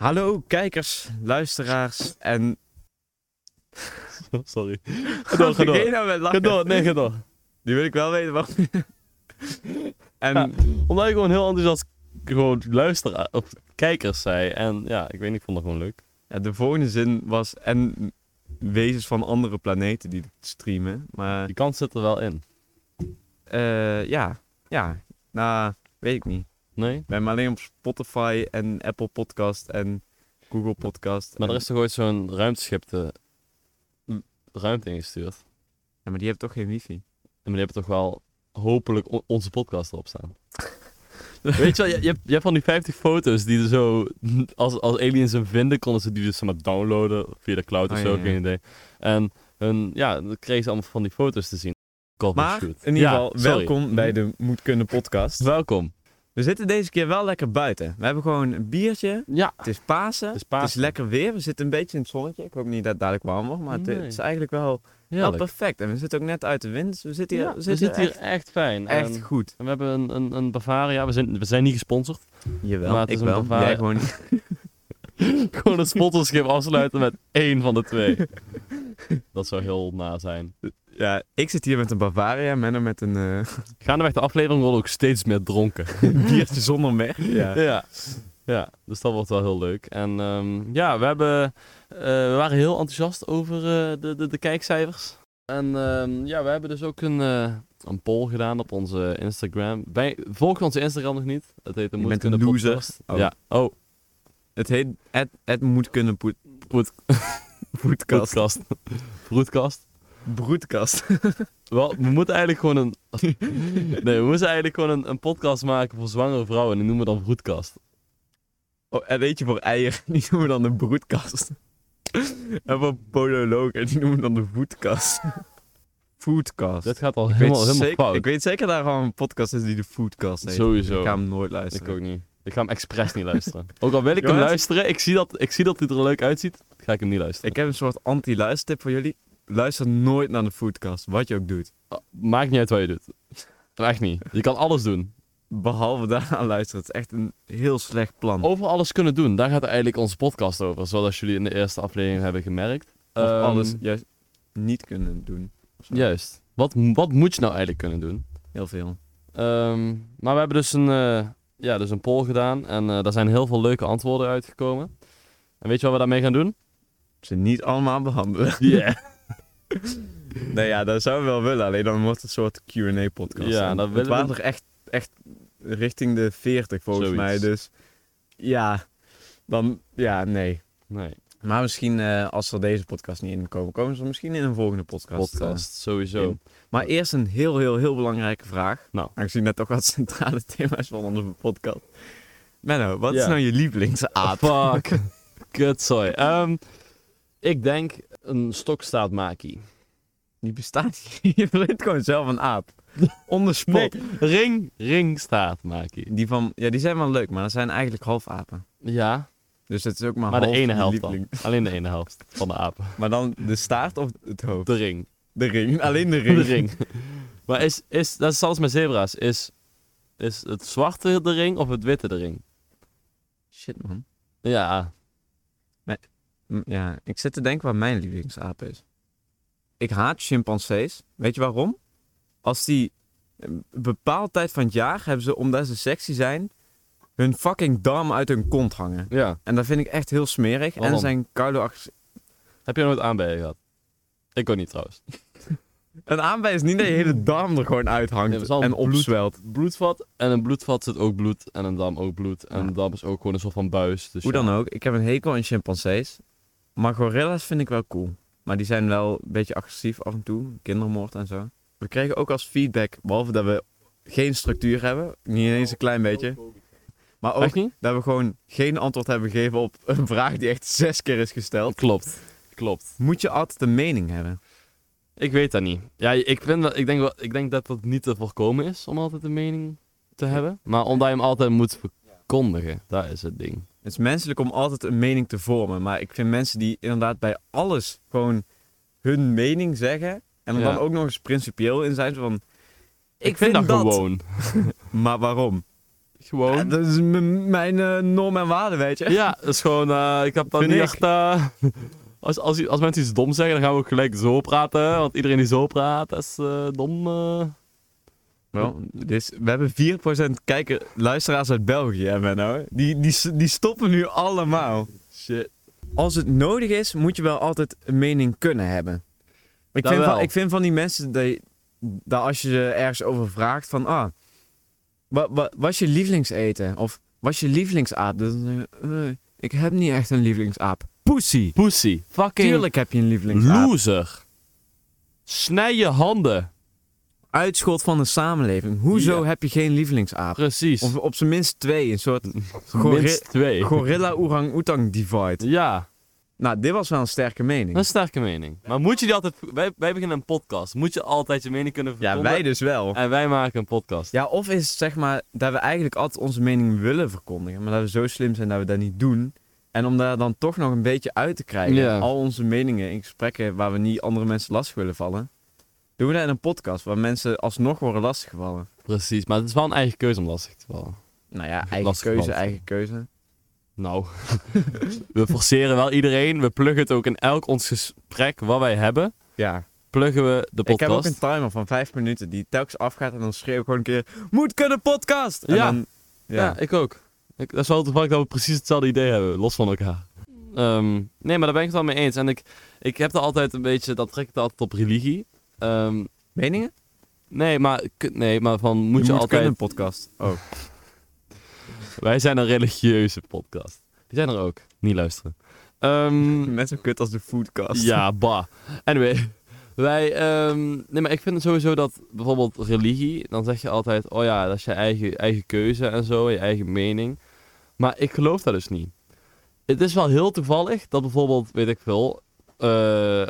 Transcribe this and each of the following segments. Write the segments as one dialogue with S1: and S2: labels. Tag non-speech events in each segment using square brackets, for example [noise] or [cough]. S1: Hallo kijkers, luisteraars en...
S2: [laughs]
S1: [laughs]
S2: Sorry. Ga door, ga
S1: Begin
S2: door.
S1: nou met
S2: Ga
S1: lachen.
S2: door, nee, ga door.
S1: Nu wil ik wel weten waarom. [laughs] en
S2: Ja. Omdat je gewoon heel enthousiast gewoon luisteraar of kijkers zei. En ja, ik weet niet, ik vond dat gewoon leuk.
S1: ja, de volgende zin was... En wezens van andere planeten die dit streamen. Maar
S2: Die kans zit er wel in.
S1: eh, ja, ja. Nou, weet ik niet.
S2: Nee?
S1: We hebben alleen op Spotify en Apple Podcast en Google Podcast.
S2: Maar
S1: en-
S2: er is toch ooit zo'n ruimteschip de ruimte ingestuurd. En
S1: Ja, maar die hebben toch geen wifi?
S2: maar die hebben toch wel hopelijk on- onze podcast erop staan. [laughs] Weet je wel, je, je, hebt, je hebt van die 50 foto's die er zo, als, als aliens hem vinden, konden ze die dus zeg maar downloaden via de cloud of
S1: Oh,
S2: zo,
S1: ja, ja.
S2: geen idee. En hun, ja, dan kregen ze allemaal van die foto's te zien. Call for
S1: Maar in
S2: Oh, shoot.
S1: ieder
S2: Ja,
S1: geval,
S2: sorry.
S1: welkom bij de Moet Kunnen podcast.
S2: Welkom.
S1: We zitten deze keer wel lekker buiten. We hebben gewoon een biertje.
S2: Ja,
S1: Het is Pasen.
S2: Het is
S1: Het
S2: Pasen.
S1: is lekker weer. We zitten een beetje in het zonnetje. Ik hoop niet dat het dadelijk warm wordt, maar het, eh,
S2: Nee.
S1: het is eigenlijk wel, wel
S2: heerlijk.
S1: perfect. En we zitten ook net uit de wind, dus we zitten hier,
S2: Ja,
S1: we
S2: we
S1: zitten
S2: zitten hier echt, fijn.
S1: echt, echt
S2: En-
S1: goed.
S2: en we hebben een, een, een Bavaria. We zijn, we zijn niet gesponsord. [laughs]
S1: Jawel,
S2: maar het
S1: ik
S2: is een
S1: wel.
S2: Bavaria.
S1: Jij
S2: [laughs]
S1: gewoon niet.
S2: Gewoon een sponsorschip afsluiten met één van de twee. Dat zou heel na zijn.
S1: Ja, ik zit hier met een Bavaria, Menno met een eh, [laughs]
S2: Gaandeweg de aflevering worden we ook steeds meer dronken.
S1: biertje zonder merk. Ja.
S2: Ja. ja, dus dat wordt wel heel leuk. En ehm, ja, we, hebben, eh, we waren heel enthousiast over eh, de, de, de kijkcijfers. En ehm, ja, we hebben dus ook een, eh, een poll gedaan op onze Instagram. Wij, volg onze Instagram nog niet. Het heet de
S1: Je
S2: Moet
S1: bent
S2: Kunnen
S1: een loser.
S2: Podcast.
S1: Oh.
S2: Ja. Oh,
S1: Het heet Het, het Moet Kunnen Poet- [laughs]
S2: Poet-
S1: Poetkast.
S2: broedkast. [laughs] broedkast.
S1: Broedkast.
S2: Wel, we moeten eigenlijk gewoon een. Nee, we moeten eigenlijk gewoon een, een podcast maken voor zwangere vrouwen. En die noemen we dan Broedkast.
S1: [laughs] Oh, en eentje voor eieren, [laughs] die noemen we dan de broedkast. [laughs] en voor polologen, die noemen we dan de voetkast. [laughs] Foodcast.
S2: Dit gaat al
S1: Ik
S2: helemaal,
S1: weet
S2: helemaal
S1: zeker,
S2: fout.
S1: Ik weet zeker dat er gewoon een podcast is die de Foodcast heet.
S2: Sowieso.
S1: Ik ga hem nooit
S2: Ik
S1: luisteren.
S2: ook niet. Ik ga hem expres niet luisteren. [laughs] Ook al wil ik hem
S1: Jongens.
S2: luisteren, ik zie, dat, ik zie dat hij er leuk uitziet, ga ik hem niet luisteren.
S1: Ik heb een soort anti-luistertip voor jullie. Luister nooit naar de Foodcast, wat je ook doet.
S2: Ah, Maakt niet uit wat je doet. Echt niet. Je kan alles doen.
S1: Behalve daaraan luisteren. Het is echt een heel slecht plan.
S2: Over alles kunnen doen. Daar gaat eigenlijk onze podcast over. Zoals jullie in de eerste aflevering hebben gemerkt.
S1: Of
S2: Ehm,
S1: alles juist niet kunnen doen.
S2: Juist. Wat, wat moet je nou eigenlijk kunnen doen?
S1: Heel veel.
S2: Ehm, maar we hebben dus een, eh, ja, dus een poll gedaan en eh, daar zijn heel veel leuke antwoorden uitgekomen. En weet je wat we daarmee gaan doen?
S1: Ze niet allemaal
S2: [laughs]
S1: behandelen.
S2: Yeah.
S1: nou ja, dat zou we wel willen. Alleen dan wordt het een soort Q&A-podcast.
S2: Ja,
S1: En
S2: dat
S1: Het
S2: willen
S1: waren
S2: we-
S1: toch echt, echt richting de 40 volgens
S2: Zoiets.
S1: mij. Dus ja, dan... Ja, nee.
S2: Nee,
S1: Maar misschien eh, als er deze podcast niet in komen, komen ze er misschien in een volgende podcast.
S2: podcast, sowieso.
S1: in. eh. maar eerst een heel, heel, heel belangrijke vraag.
S2: Nou.
S1: Aangezien net ook wat [laughs] centrale thema's van onze podcast. Menno, wat is
S2: Ja.
S1: nou je
S2: [laughs]
S1: lievelingsaap?
S2: Fuck. Kutzooi. Ehm, ik denk een stokstaatmaki.
S1: Die bestaat niet. [laughs] Je verzint gewoon zelf een
S2: [laughs]
S1: aap. On the spot.
S2: ring, ringstaatmaki.
S1: Die, van, ja, die zijn wel leuk, maar dat zijn eigenlijk halfapen.
S2: Ja,
S1: Dus het is ook maar,
S2: maar de
S1: half
S2: ene
S1: je
S2: helft dan.
S1: lieveling.
S2: Alleen de ene helft van de apen.
S1: Maar dan de staart of het hoofd?
S2: De ring.
S1: De
S2: [laughs]
S1: ring. Alleen de ring.
S2: De ring. Maar is, is, dat is zelfs met zebra's. Is, is het zwarte de ring of het witte de ring?
S1: Shit, man.
S2: Ja,
S1: Mm, Ja, ik zit te denken waar mijn lievelingsaap is. Ik haat chimpansees. Weet je waarom? Als die een bepaald tijd van het jaar hebben ze, omdat ze sexy zijn, hun fucking darm uit hun kont hangen.
S2: Ja.
S1: En dat vind ik echt heel smerig. En
S2: Waarom?
S1: zijn koude ach-
S2: Heb jij nooit aanbijen gehad? Ik ook niet trouwens.
S1: Een aanbij is niet dat je hele darm er gewoon
S2: Nee,
S1: uithangt
S2: maar zal
S1: en
S2: een bloed-
S1: opzwelt.
S2: Bloedvat. En een bloedvat zit ook bloed. En een dam ook bloed. En
S1: Ja.
S2: een dam is ook gewoon een soort van buis. Dus
S1: Hoe
S2: ja.
S1: dan ook, ik heb een hekel aan chimpansees. Maar gorilla's vind ik wel cool. Maar die zijn wel een beetje agressief af en toe. Kindermoord en zo. We kregen ook als feedback, behalve dat we geen structuur hebben. Niet eens een klein beetje. Maar ook
S2: Echt niet?
S1: dat we gewoon geen antwoord hebben gegeven op een vraag die echt zes keer is gesteld.
S2: Klopt. Klopt.
S1: Moet je altijd een mening hebben?
S2: Ik weet dat niet. Ja, ik, vind dat, ik, denk wel, ik denk dat dat niet te voorkomen is om altijd een mening te hebben. Maar omdat je hem altijd moet verkondigen. Dat is het ding.
S1: Het is menselijk om altijd een mening te vormen. Maar ik vind mensen die inderdaad bij alles gewoon hun mening zeggen. En er
S2: Ja.
S1: dan ook nog eens principieel in zijn. zo Van, ik,
S2: dat gewoon.
S1: Maar waarom?
S2: Ik Gewoon.
S1: Ja, dat is m- mijn eh, norm en waarde, weet je.
S2: Ja, dat is gewoon, eh, ik heb dan
S1: Vind
S2: niet
S1: ik.
S2: echt... eh, [laughs] als, als, als mensen iets dom zeggen, dan gaan we ook gelijk zo praten. Want iedereen die zo praat, is eh, dom. eh.
S1: Wel, dus we hebben 4% kijker, luisteraars uit België, hè, Menno. Die, die, s- die stoppen nu allemaal.
S2: Shit.
S1: Als het nodig is, moet je wel altijd een mening kunnen hebben. Ik,
S2: Dat
S1: vind van,
S2: wel.
S1: ik vind van die mensen dat, je- dat als je ze ergens over vraagt van... Ah, wat, wat was je lievelingseten? Of was je lievelingsaap? Dan zeggen ze, eh, ik heb niet echt een lievelingsaap. Pussy.
S2: Pussy. Fucking
S1: Tuurlijk heb je een lievelingsaap.
S2: loser. Snij je handen.
S1: Uitschot van de samenleving. Hoezo
S2: Ja.
S1: heb je geen lievelingsaap?
S2: Precies.
S1: Of op zijn minst twee. Een soort gorri-
S2: Minst twee.
S1: gorilla orang oetang divide.
S2: Ja,
S1: Nou, dit was wel een sterke
S2: dat is een
S1: mening.
S2: sterke mening. Maar moet je die altijd... Wij, wij beginnen een podcast. Moet je altijd je mening kunnen
S1: Ja,
S2: verkondigen?
S1: wij dus wel.
S2: En wij maken een podcast.
S1: Ja, of is het zeg maar dat we eigenlijk altijd onze mening willen verkondigen, maar dat we zo slim zijn dat we dat niet doen. En om daar dan toch nog een beetje uit te krijgen,
S2: Ja.
S1: al onze meningen in gesprekken waar we niet andere mensen lastig willen vallen, doen we dat in een podcast waar mensen alsnog worden lastiggevallen.
S2: Precies, maar het is wel een eigen keuze om lastig te vallen.
S1: Nou ja, eigen
S2: Lastiggevallen.
S1: keuze, eigen keuze.
S2: [laughs] Nou, we forceren wel iedereen. We pluggen het ook in elk ons gesprek wat wij hebben.
S1: Ja.
S2: Pluggen we de
S1: Ik heb ook
S2: podcast.
S1: een timer van vijf minuten die telkens afgaat en dan schreeuw ik gewoon een keer, moet kunnen podcast! En
S2: Ja.
S1: dan-
S2: ja. ik ook. Ik, dat is wel toevallig dat we precies hetzelfde idee hebben, los van elkaar. Ehm, nee, maar daar ben ik het wel mee eens. En ik, ik heb er altijd een beetje, dat trek ik er altijd op religie. Ehm,
S1: Meningen?
S2: nee, maar, k- nee, maar van moet je, altijd...
S1: kunnen podcast. Oh. [laughs]
S2: Wij zijn een religieuze podcast. Die zijn er ook. Niet luisteren.
S1: [laughs]
S2: Ehm,
S1: Net zo kut als de foodcast.
S2: Ja, bah. Anyway. Wij, ehm, nee, maar ik vind het sowieso dat bijvoorbeeld religie, dan zeg je altijd, oh ja, dat is je eigen, eigen keuze en zo, je eigen mening. Maar ik geloof daar dus niet. Het is wel heel toevallig dat bijvoorbeeld, weet ik veel, eh,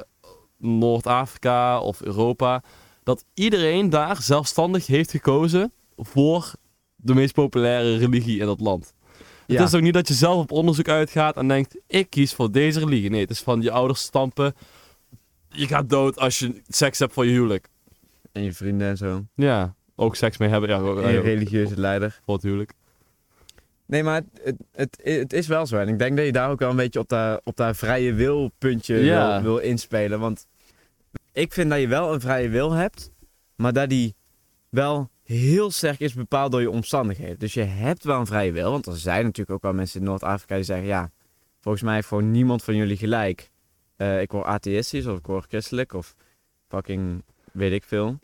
S2: Noord-Afrika of Europa, dat iedereen daar zelfstandig heeft gekozen voor de meest populaire religie in dat land.
S1: Ja.
S2: Het is ook niet dat je zelf op onderzoek uitgaat en denkt: ik kies voor deze religie. Nee, het is van je ouders stampen. Je gaat dood als je seks hebt voor je huwelijk.
S1: En je vrienden en zo.
S2: Ja, ook seks mee hebben. Ja, ook-
S1: En je
S2: ook
S1: religieuze leider.
S2: voor het huwelijk.
S1: Nee, maar het, het, het, het is wel zo. En ik denk dat je daar ook wel een beetje op dat, op dat vrije wil puntje
S2: Ja.
S1: wil, wil inspelen. Want ik vind dat je wel een vrije wil hebt, maar dat die wel heel sterk is bepaald door je omstandigheden. Dus je hebt wel een vrije wil, want er zijn natuurlijk ook wel mensen in Noord-Afrika die zeggen... ja, volgens mij heeft gewoon niemand van jullie gelijk. Eh, ik word atheïstisch of ik word christelijk of fucking weet ik veel.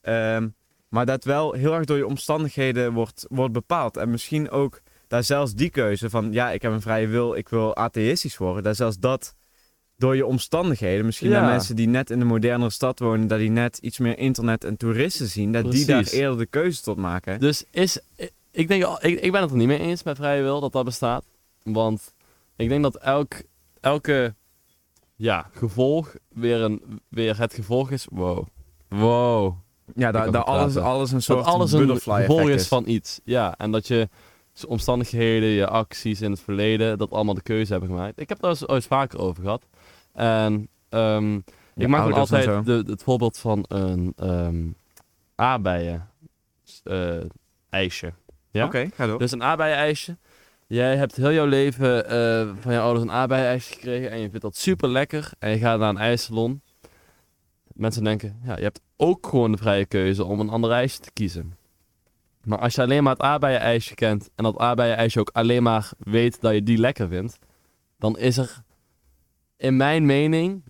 S1: Ehm, maar dat wel heel erg door je omstandigheden wordt, wordt bepaald. En misschien ook daar zelfs die keuze van, ja, ik heb een vrije wil, ik wil atheïstisch worden. Daar zelfs dat door je omstandigheden. Misschien
S2: Ja.
S1: naar mensen die net in de modernere stad wonen, dat die net iets meer internet en toeristen zien, dat die daar
S2: Precies.
S1: eerder de keuze tot maken.
S2: Dus is. Ik, denk, al- ik, ik ben het er niet mee eens met vrije wil dat dat bestaat. Want ik denk dat elk, elke ja, gevolg weer, een, weer het gevolg is. Wow. Wow.
S1: Ja, daar
S2: kan
S1: daar
S2: niet
S1: alles,
S2: praten.
S1: alles een soort
S2: dat alles een
S1: butterfly
S2: gevolg
S1: effect
S2: is van iets. Ja, en dat je s- omstandigheden, je acties in het verleden, dat allemaal de keuze hebben gemaakt. Ik heb daar eens ooit vaker over gehad. En ehm,
S1: Je
S2: ik maak ook
S1: ouders en
S2: altijd de, het voorbeeld van een ehm aardbeien s- eh, ijsje. Ja?
S1: Oké, ga door.
S2: Dus een aardbeienijsje. Jij hebt heel jouw leven eh, van je ouders een aardbeienijsje gekregen en je vindt dat super lekker. En je gaat naar een ijssalon. Mensen denken, ja, je hebt ook gewoon de vrije keuze om een ander ijsje te kiezen. Maar als je alleen maar het aardbeienijsje kent en dat aardbeienijsje ook alleen maar weet dat je die lekker vindt, dan is er in mijn mening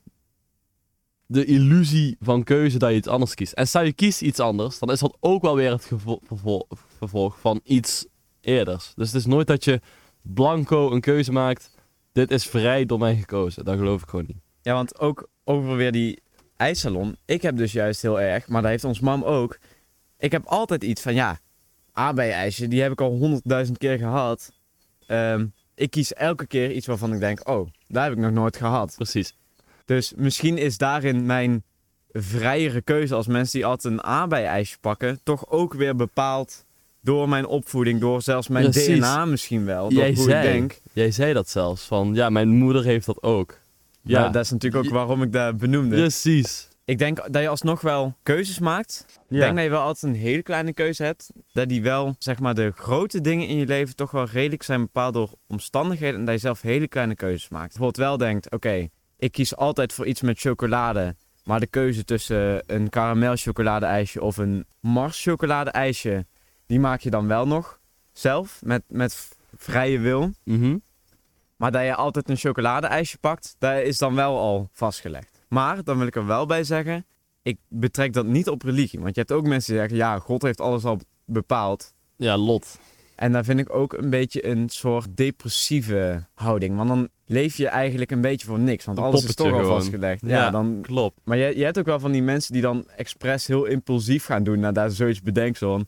S2: de illusie van keuze dat je iets anders kiest. En stel je kiest iets anders, dan is dat ook wel weer het gevo- vervol- vervolg van iets eerders. Dus het is nooit dat je blanco een keuze maakt. Dit is vrij door mij gekozen. Dat geloof ik gewoon niet.
S1: Ja, want ook over weer die ijssalon. Ik heb dus juist heel erg, maar dat heeft ons mam ook. Ik heb altijd iets van, ja, AB-ijsje, die heb ik al honderdduizend keer gehad. Ehm, ik kies elke keer iets waarvan ik denk, oh, daar heb ik nog nooit gehad.
S2: Precies.
S1: Dus misschien is daarin mijn vrijere keuze als mensen die altijd een AB-ijsje pakken, toch ook weer bepaald door mijn opvoeding, door zelfs mijn
S2: Precies.
S1: DNA misschien wel, door
S2: Jij
S1: hoe
S2: zei,
S1: ik denk.
S2: jij zei dat zelfs. Van ja, mijn moeder heeft dat ook.
S1: Ja,
S2: Ja,
S1: dat is natuurlijk ook
S2: Je-
S1: waarom ik dat benoemde.
S2: precies.
S1: Ik denk dat je alsnog wel keuzes maakt. Ik denk dat je wel altijd een hele kleine keuze hebt. Dat die wel, zeg maar, de grote dingen in je leven toch wel redelijk zijn bepaald door omstandigheden. En dat je zelf hele kleine keuzes maakt. Bijvoorbeeld wel denkt, oké, ik kies altijd voor iets met chocolade. Maar de keuze tussen een karamel ijsje of een mars ijsje, die maak je dan wel nog zelf met, met v- vrije wil.
S2: Mhm.
S1: Maar dat je altijd een chocoladeijsje pakt, dat is dan wel al vastgelegd. Maar, dan wil ik er wel bij zeggen, ik betrek dat niet op religie. Want je hebt ook mensen die zeggen, ja, God heeft alles al bepaald.
S2: Ja, lot.
S1: En daar vind ik ook een beetje een soort depressieve houding. Want dan leef je eigenlijk een beetje voor niks. Want
S2: Een
S1: alles is
S2: poppetje
S1: toch al
S2: gewoon.
S1: vastgelegd. Ja,
S2: Ja.
S1: dan...
S2: Klopt.
S1: Maar je, je hebt ook wel van die mensen die dan expres heel impulsief gaan doen nadat ze zoiets bedenkt. Zo van,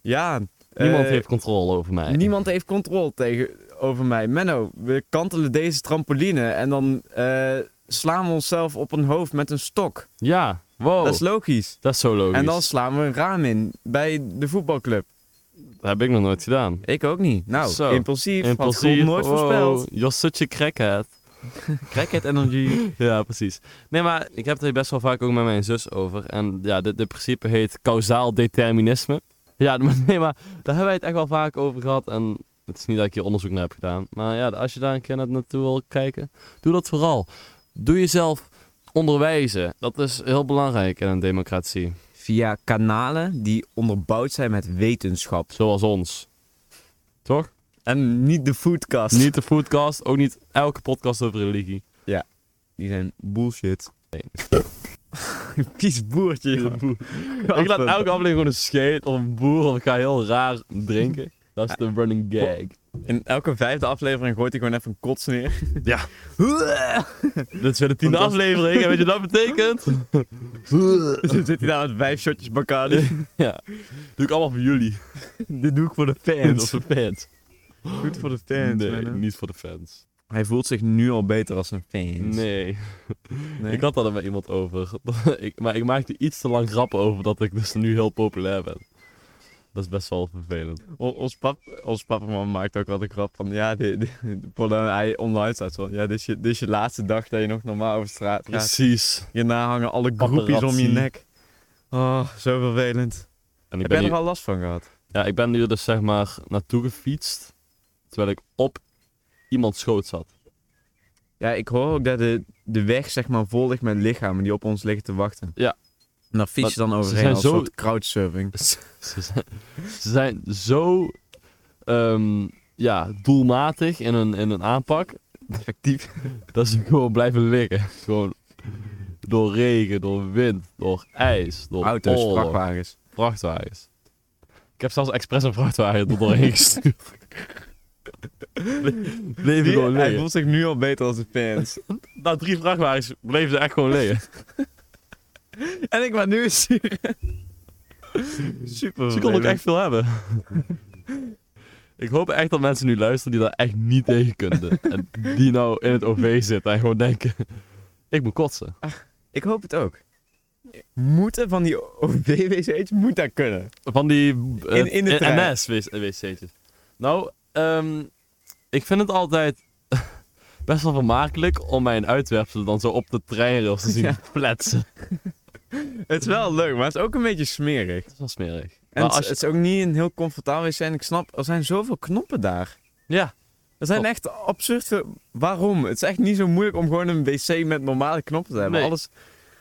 S1: ja...
S2: Niemand
S1: eh,
S2: heeft controle over mij.
S1: Niemand heeft controle tegen, over mij. Menno, we kantelen deze trampoline en dan eh, slaan we onszelf op een hoofd met een stok.
S2: Ja, wow.
S1: Dat is logisch.
S2: Dat is zo Oh. logisch.
S1: En dan slaan we een raam in bij de voetbalclub.
S2: Dat heb ik nog nooit gedaan.
S1: Ik ook niet. Nou,
S2: Zo.
S1: impulsief. Impulsief.
S2: Impulsief.
S1: nooit
S2: wow,
S1: voorspeld.
S2: You're such a crackhead.
S1: [laughs] Crackhead energy.
S2: Ja, precies. Nee, maar ik heb het hier best wel vaak ook met mijn zus over. En ja, dit, dit principe heet kausaal determinisme. Ja, [laughs] maar nee, maar daar hebben wij het echt wel vaak over gehad. En het is niet dat ik hier onderzoek naar heb gedaan. Maar ja, als je daar een keer na- naartoe wil kijken, doe dat vooral. Doe jezelf onderwijzen. Dat is heel belangrijk in een democratie.
S1: Via kanalen die onderbouwd zijn met wetenschap.
S2: Zoals ons. Toch?
S1: En niet de foodcast.
S2: Niet de foodcast, ook niet elke podcast over religie.
S1: Die zijn bullshit. [laughs] Kies boertje. joh.
S2: Ik laat elke aflevering gewoon een scheet of een boer of ik ga heel raar drinken. Dat is de running gag.
S1: In elke vijfde aflevering gooit hij gewoon even een kots neer. [laughs]
S2: Ja.
S1: Dan
S2: Dit is weer de tiende
S1: Want dat-
S2: aflevering en weet je wat dat betekent?
S1: [laughs] zit hij daar met vijf shotjes Bacardi.
S2: ja. Doe ik allemaal voor jullie.
S1: [laughs] Dit doe ik voor de
S2: Dat is voor fans.
S1: Goed voor de
S2: nee,
S1: man, hè?
S2: niet voor de fans.
S1: Hij voelt zich nu al beter als een fan.
S2: Nee.
S1: Nee?
S2: Ik had dat er met iemand over. ik, maar ik maakte iets te lang grappen over dat ik dus nu heel populair ben. Dat is best wel vervelend.
S1: O- ons, pap, ons papaman maakt ook wel de grap van... Ja, dit, dit, voordat hij online staat. Zo, ja, dit, is je, dit is je laatste dag dat je nog normaal over straat gaat.
S2: Precies.
S1: Hierna hangen alle groepjes om je
S2: Paparazzi.
S1: nek. Oh, zo vervelend.
S2: En ik
S1: Heb
S2: ben,
S1: jij er
S2: hier,
S1: al last van gehad?
S2: ja, ik ben hier dus zeg maar naartoe gefietst. Terwijl ik op iemand schoot zat.
S1: Ja, ik hoor ook dat de, de weg zeg maar vol ligt met lichamen die op ons liggen te wachten.
S2: Ja.
S1: En daar fiets je dan overheen
S2: zijn
S1: als
S2: zo-
S1: een soort crowdsurfing.
S2: Dus [laughs] ze, zijn, ze zijn zo ehm, ja, doelmatig in hun, in hun aanpak
S1: Effectief.
S2: [laughs] dat ze gewoon blijven liggen. Gewoon door regen, door wind, door ijs, door
S1: Auto's,
S2: oorlog,
S1: vrachtwagens.
S2: vrachtwagens. Ik heb zelfs expres een vrachtwagen er doorheen [laughs] gestuurd. Bleven
S1: Die-
S2: gewoon
S1: hij
S2: liggen.
S1: voelt zich nu al beter als de fans.
S2: Na drie vrachtwagens bleven ze echt gewoon liggen.
S1: [laughs] en ik maar nu is Super.
S2: Ze konden ook echt veel hebben. Oh, [laughs] Ik hoop echt dat mensen nu luisteren die daar echt niet tegen kunnen. En die nou in het OV zitten en gewoon denken... [laughs] Ik moet kotsen.
S1: Ik hoop het ook. Moeten van die OV-wc's moet dat kunnen.
S2: Van die eh,
S1: In- in de trein.
S2: NS-wc'tjes. Nou, ehm, ik vind het altijd [laughs] best wel vermakelijk om mijn uitwerpselen dan zo op de treinrails te zien [laughs]
S1: Ja.
S2: fletsen.
S1: Het is wel leuk, maar het is ook een beetje smerig.
S2: Dat is wel smerig.
S1: En
S2: Maar
S1: het,
S2: als je-
S1: het is ook niet een heel comfortabel wc. En ik snap, er zijn zoveel knoppen daar.
S2: ja,
S1: Er zijn
S2: Klopt.
S1: echt absurd veel... Waarom? Het is echt niet zo moeilijk om gewoon een wc met normale knoppen te hebben.
S2: Nee.
S1: Alles...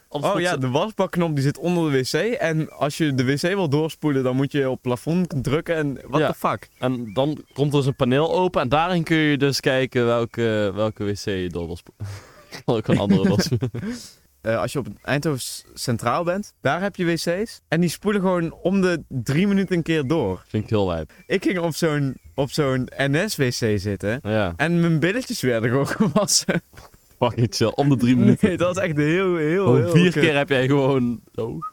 S2: alles
S1: Oh
S2: goed
S1: ja,
S2: zo-
S1: de wasbakknop die zit onder de wc. En als je de wc wil doorspoelen, dan moet je op het plafond drukken. En what
S2: Ja.
S1: the fuck?
S2: En dan komt er dus een paneel open en daarin kun je dus kijken welke, welke wc je door wil [laughs] spoelen. Ik wil ook een andere wil spoelen.
S1: Eh, als je op Eindhoven S- Centraal bent, daar heb je wc's. En die spoelen gewoon om de drie minuten een keer door.
S2: [laughs] Vind ik heel wijp.
S1: Ik ging op zo'n, op zo'n NS-wc zitten.
S2: Nou Ja,
S1: En mijn billetjes werden gewoon [laughs] gewassen.
S2: fucking chill. Om de
S1: [laughs]
S2: drie minuten.
S1: Nee, dat was echt heel, heel,
S2: Gewoon
S1: heel...
S2: Oh, vier
S1: kut.
S2: keer heb jij gewoon... Oh,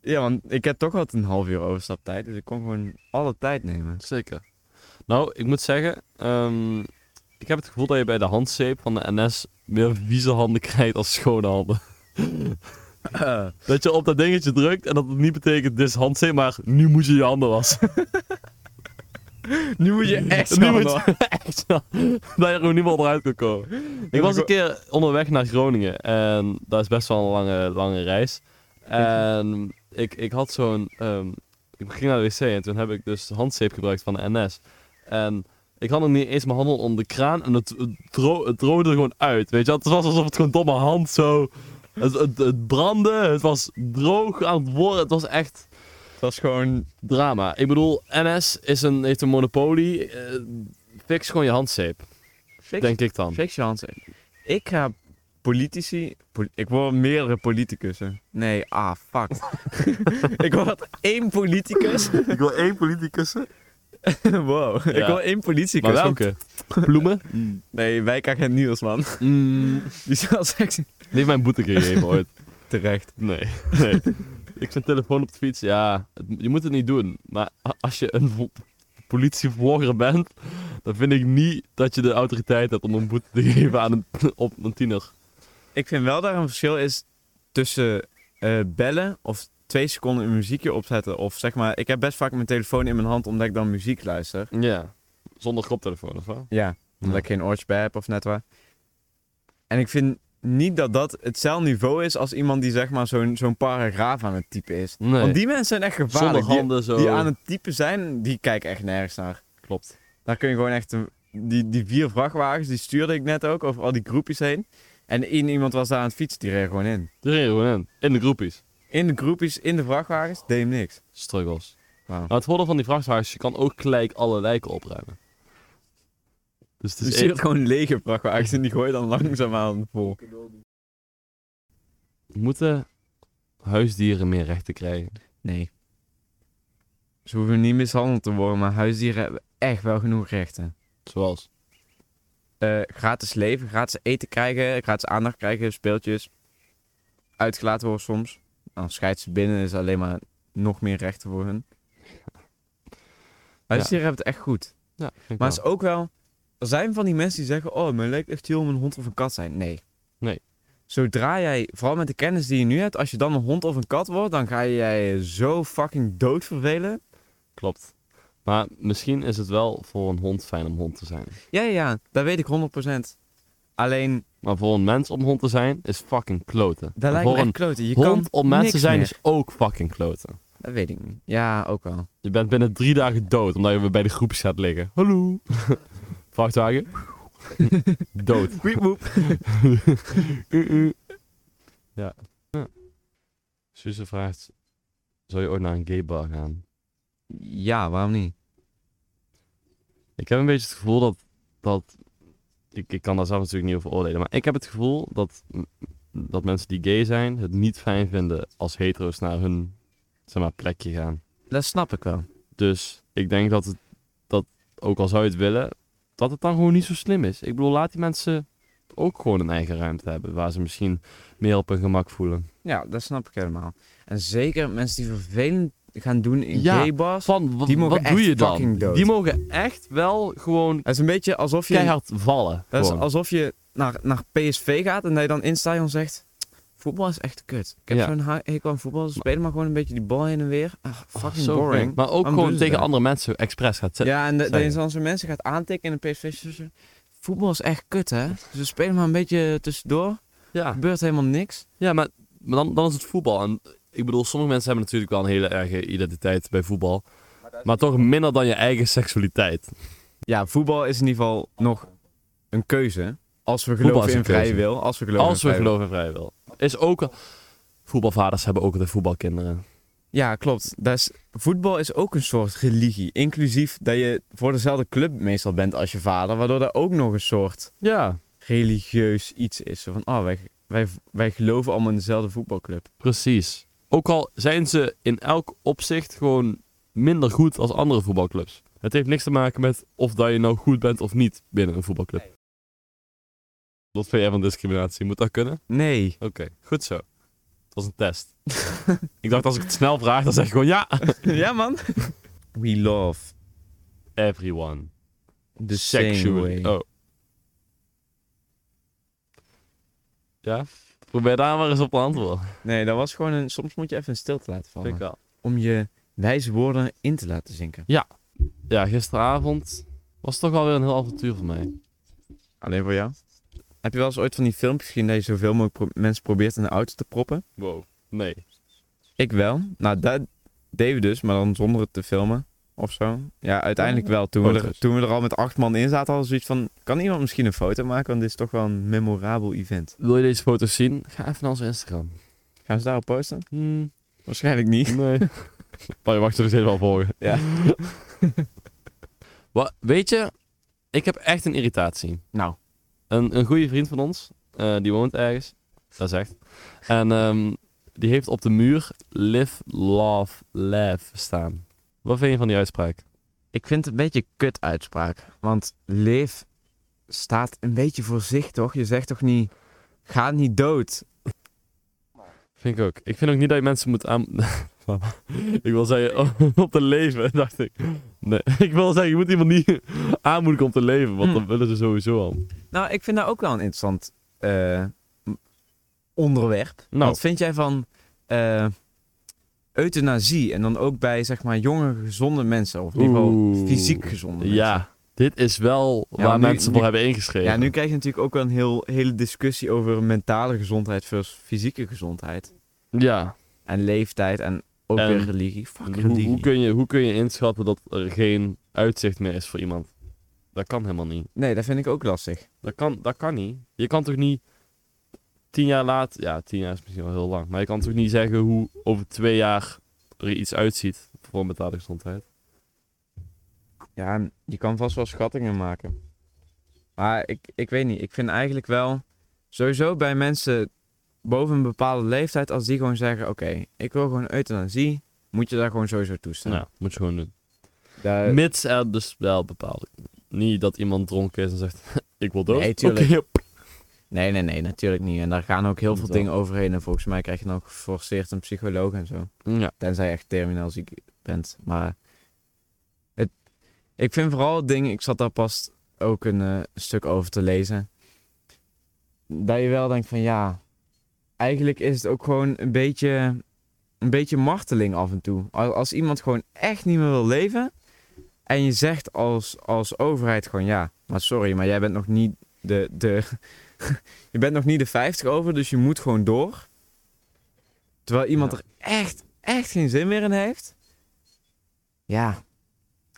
S1: Ja, want ik heb toch wat een half uur overstaptijd. Dus ik kon gewoon alle tijd nemen.
S2: zeker. Nou, ik moet zeggen... ehm, ik heb het gevoel dat je bij de handzeep van de NS meer vieze handen krijgt als schone handen. [laughs] Dat je op dat dingetje drukt en dat het niet betekent dit is handzeep, maar nu moet je je handen wassen.
S1: Nu moet je echt
S2: Nu
S1: snel
S2: moet
S1: door.
S2: je [laughs] echt snel. Dat je er gewoon niet meer onderuit kan komen. Ik was een keer onderweg naar Groningen en dat is best wel een lange, lange reis. En ik, ik had zo'n... ehm, ik ging naar de wc en toen heb ik dus handzeep gebruikt van de NS. En ik had nog niet eens mijn handen onder de kraan en het, het, dro- het droogde er gewoon uit. Weet je, wel. het was alsof het gewoon door mijn hand zo... Het, het, het brandde, het was droog aan het worden, het was echt
S1: Het was gewoon...
S2: drama. Ik bedoel, NS is een, heeft een monopolie. Eh, fix gewoon je handzeep,
S1: Fix,
S2: denk ik dan.
S1: fix je hand. Ik ga politici... pol- ik word meerdere politicussen. Nee, ah,
S2: [laughs]
S1: fuck. [laughs] ik word één politicus.
S2: Ik wil één politicus.
S1: [laughs] wow. Ik
S2: Ja.
S1: word één politicus.
S2: Maar welke? Bloemen?
S1: Nee, wijkagent Nielsman.
S2: Mm,
S1: [laughs] Die zal seks...
S2: die heeft mijn boete gegeven ooit.
S1: Terecht.
S2: Nee, nee. Ik zijn telefoon op de fiets, ja. het- je moet het niet doen. Maar a- als je een vo- politievlogger bent, dan vind ik niet dat je de autoriteit hebt om een boete te geven aan een, [laughs] op een tiener.
S1: Ik vind wel dat er een verschil is tussen eh, bellen of twee seconden een muziekje opzetten. Of zeg maar, ik heb best vaak mijn telefoon in mijn hand omdat ik dan muziek luister.
S2: Ja. Zonder koptelefoon, of wel?
S1: Ja, omdat
S2: Ja.
S1: ik geen oortje bij heb of net waar. En ik vind niet dat dat hetzelfde niveau is als iemand die zeg maar zo'n zo'n paragraaf aan het typen is.
S2: Nee.
S1: Want die mensen zijn echt
S2: Zonder
S1: gevaarlijk. Die,
S2: handen zo.
S1: die aan het typen zijn, die kijken echt nergens naar.
S2: Klopt.
S1: Daar kun je gewoon echt... een- Die, die vier vrachtwagens, die stuurde ik net ook over al die groepjes heen. En één iemand was daar aan het fietsen, die reed gewoon in.
S2: Die reden gewoon in. In de groepjes.
S1: In de groepjes, in de vrachtwagens, deed hem niks.
S2: Struggles.
S1: Wauw.
S2: Nou, het voordeel van die vrachtwagens, je kan ook gelijk alle lijken opruimen. Dus het
S1: Je
S2: is
S1: stuurt gewoon lege vrachtwagens en die gooi je dan langzaamaan vol.
S2: e- moeten huisdieren meer rechten krijgen.
S1: Nee. Ze hoeven niet mishandeld te worden, maar huisdieren hebben echt wel genoeg rechten.
S2: Zoals.
S1: Eh, gratis leven, gratis eten krijgen, gratis aandacht krijgen, speeltjes. Uitgelaten worden soms. Dan scheidt ze binnen, is alleen maar nog meer rechten voor hun. Huisdieren hebben het echt goed.
S2: Ja,
S1: Maar het is ook wel... Er zijn van die mensen die zeggen... Oh, mij lijkt echt heel om een hond of een kat te zijn. Nee.
S2: Nee.
S1: Zodra jij, vooral met de kennis die je nu hebt... Als je dan een hond of een kat wordt... Dan ga jij je zo fucking dood vervelen.
S2: klopt. Maar misschien is het wel voor een hond fijn om hond te zijn.
S1: Ja, ja, ja. Dat weet ik 100%. Alleen,
S2: Maar voor een mens om hond te zijn, is fucking kloten.
S1: dat
S2: En
S1: lijkt
S2: voor
S1: me echt
S2: een
S1: kloten. Je
S2: hond
S1: kan
S2: om mens te
S1: niks
S2: zijn,
S1: meer.
S2: is ook fucking kloten.
S1: Dat weet ik niet. Ja, ook wel.
S2: Je bent binnen drie dagen dood, omdat je weer bij de groepjes gaat liggen. Hallo.
S1: [laughs]
S2: [laughs] Vrachtwagen. dood.
S1: Wiep, woep.
S2: ja. ja. Suze vraagt: Zou je ooit naar een gay bar gaan?
S1: Ja, waarom niet?
S2: Ik heb een beetje het gevoel dat. dat ik, ik kan daar zelf natuurlijk niet over oordelen, maar ik heb het gevoel dat, dat mensen die gay zijn het niet fijn vinden als hetero's naar hun zeg maar, plekje gaan.
S1: Dat snap ik wel.
S2: Dus ik denk dat het, dat ook al zou je het willen, dat het dan gewoon niet zo slim is. Ik bedoel, laat die mensen ook gewoon een eigen ruimte hebben waar ze misschien meer op hun gemak voelen.
S1: Ja, dat snap ik helemaal. En zeker mensen die vervelend gaan doen in
S2: Ja,
S1: gay bars.
S2: Van, wa-
S1: Die mogen
S2: wat doe
S1: echt
S2: je dan?
S1: fucking dood.
S2: Die mogen echt wel gewoon
S1: Het is een beetje alsof je...
S2: keihard vallen.
S1: Dat is
S2: gewoon.
S1: alsof je naar, naar PSV gaat en dat je dan in het stadion zegt... Voetbal is echt kut. Ik heb
S2: Ja.
S1: zo'n ha- hekel aan voetbal. Ze spelen maar gewoon een beetje die bal heen en weer. Ah,
S2: Oh,
S1: fucking
S2: zo vreemd.
S1: boring.
S2: Maar ook
S1: Waarom doen
S2: gewoon
S1: ze
S2: tegen
S1: dat?
S2: andere mensen expres gaat zitten.
S1: Ja, en de- dat
S2: Sorry.
S1: je dan zo'n mensen gaat aantikken in de PSV. Voetbal is echt kut, hè? Ze spelen maar een beetje tussendoor.
S2: Ja,
S1: Gebeurt helemaal niks.
S2: ja maar, maar dan, dan is het voetbal. En ik bedoel, sommige mensen hebben natuurlijk wel een hele erge identiteit bij voetbal. Maar toch minder dan je eigen seksualiteit.
S1: Ja, voetbal is in ieder geval nog een keuze. Als we
S2: Voetbal
S1: geloven
S2: is een
S1: in vrije
S2: keuze.
S1: wil. Als we geloven
S2: Als
S1: in
S2: we
S1: vrije wil.
S2: geloven in vrije wil. Is ook... al- Voetbalvaders hebben ook de voetbalkinderen.
S1: Ja, klopt. Dat is, voetbal is ook een soort religie. Inclusief dat je voor dezelfde club meestal bent als je vader. Waardoor dat ook nog een soort
S2: Ja,
S1: religieus iets is. Zo van, oh, wij, wij, wij geloven allemaal in dezelfde voetbalclub.
S2: precies. Ook al zijn ze in elk opzicht gewoon minder goed als andere voetbalclubs. Het heeft niks te maken met of dat je nou goed bent of niet binnen een voetbalclub. Wat vind jij van discriminatie? Moet dat kunnen?
S1: Nee.
S2: Oké, goed zo. Het was een test. ik dacht, als ik het snel vraag, dan zeg ik gewoon [laughs] ja.
S1: ja, man. We love
S2: Everyone.
S1: the same
S2: Sexually.
S1: way.
S2: Oh. Ja? Probeer daar maar eens op te antwoorden.
S1: Nee, dat was gewoon een... Soms moet je even een stilte laten vallen.
S2: wel.
S1: Om je wijze woorden in te laten zinken.
S2: ja, gisteravond was toch wel weer een heel avontuur voor mij.
S1: Alleen voor jou. Heb je wel eens ooit van die filmpjes gezien dat je zoveel mogelijk pro- mensen probeert in de auto te proppen?
S2: Wow. Nee.
S1: Ik wel. Nou, dat deden we dus, maar dan zonder het te filmen of zo. Ja, Oh, uiteindelijk wel. Toen we, er,
S2: Foto's.
S1: toen we er al met acht man in zaten, hadden we zoiets van... Kan iemand misschien een foto maken? Want dit is toch wel een memorabel event.
S2: Wil je deze foto's zien? Ga even naar onze Instagram.
S1: Gaan ze daarop posten?
S2: [laughs] Hmm,
S1: Waarschijnlijk niet.
S2: nee. maar je mag ze nog steeds wel volgen.
S1: Ja.
S2: [laughs] Wa- weet je, ik heb echt een irritatie.
S1: Nou.
S2: Een, een goede vriend van ons, eh, die woont ergens. Dat is echt. En ehm, die heeft op de muur live, love, laugh staan. Wat vind je van die uitspraak?
S1: Ik vind het een beetje kut uitspraak. Want leef staat een beetje voor zich, toch? Je zegt toch niet... Ga niet dood.
S2: Vind ik ook. Ik vind ook niet dat je mensen moet aan... [laughs] ik wil zeggen, oh, om [laughs] te leven, dacht ik. Nee, [laughs] ik wil zeggen, je moet iemand niet [laughs] aanmoedigen om te leven, want
S1: Hmm.
S2: dan willen ze sowieso al.
S1: Nou, ik vind dat ook wel een interessant eh, m- onderwerp.
S2: Nou.
S1: Wat vind jij van eh, euthanasie? En dan ook bij, zeg maar, jonge, gezonde mensen. Of in ieder geval
S2: Oeh.
S1: fysiek gezonde mensen.
S2: Ja, dit is wel
S1: Ja,
S2: waar
S1: nu-
S2: mensen
S1: nu-
S2: voor hebben ingeschreven.
S1: Ja, nu krijg je natuurlijk ook wel een heel, hele discussie over mentale gezondheid versus fysieke gezondheid.
S2: Ja.
S1: En leeftijd en ook
S2: En
S1: weer religie. Fuck
S2: Hoe,
S1: religie.
S2: hoe, kun je, hoe kun je inschatten dat er geen uitzicht meer is voor iemand? Dat kan helemaal niet.
S1: Nee, dat vind ik ook lastig.
S2: Dat kan, dat kan niet. Je kan toch niet tien jaar later... Ja, tien jaar is misschien wel heel lang. Maar je kan toch niet zeggen hoe over twee jaar er iets uitziet voor mentale gezondheid?
S1: Ja, en je kan vast wel schattingen maken. Maar ik, ik weet niet. Ik vind eigenlijk wel... Sowieso bij mensen boven een bepaalde leeftijd... als die gewoon zeggen... oké, ik wil gewoon euthanasie... moet je daar gewoon sowieso toestaan.
S2: Ja, eh, moet je gewoon doen.
S1: Daar-
S2: Mits er dus wel bepaald. Niet dat iemand dronken is en zegt, [laughs] ik wil dood.
S1: Nee, tuurlijk.
S2: Oké, hup.
S1: Nee, nee, nee. Natuurlijk niet. En daar gaan ook heel veel
S2: Inderdaad.
S1: dingen overheen. En volgens mij krijg je dan ook geforceerd een psycholoog en zo.
S2: Mm, Ja.
S1: Tenzij je echt terminaal ziek bent. Maar het, ik vind vooral het ding, ik zat daar pas ook een eh, stuk over te lezen. Dat je wel denkt van ja, eigenlijk is het ook gewoon een beetje, een beetje marteling af en toe. Als, als iemand gewoon echt niet meer wil leven. En je zegt als, als overheid gewoon ja, maar sorry, maar jij bent nog niet de, de, [laughs] je bent nog niet de 50 over, dus je moet gewoon door. Terwijl iemand
S2: Ja.
S1: er echt, echt geen zin meer in heeft. Ja,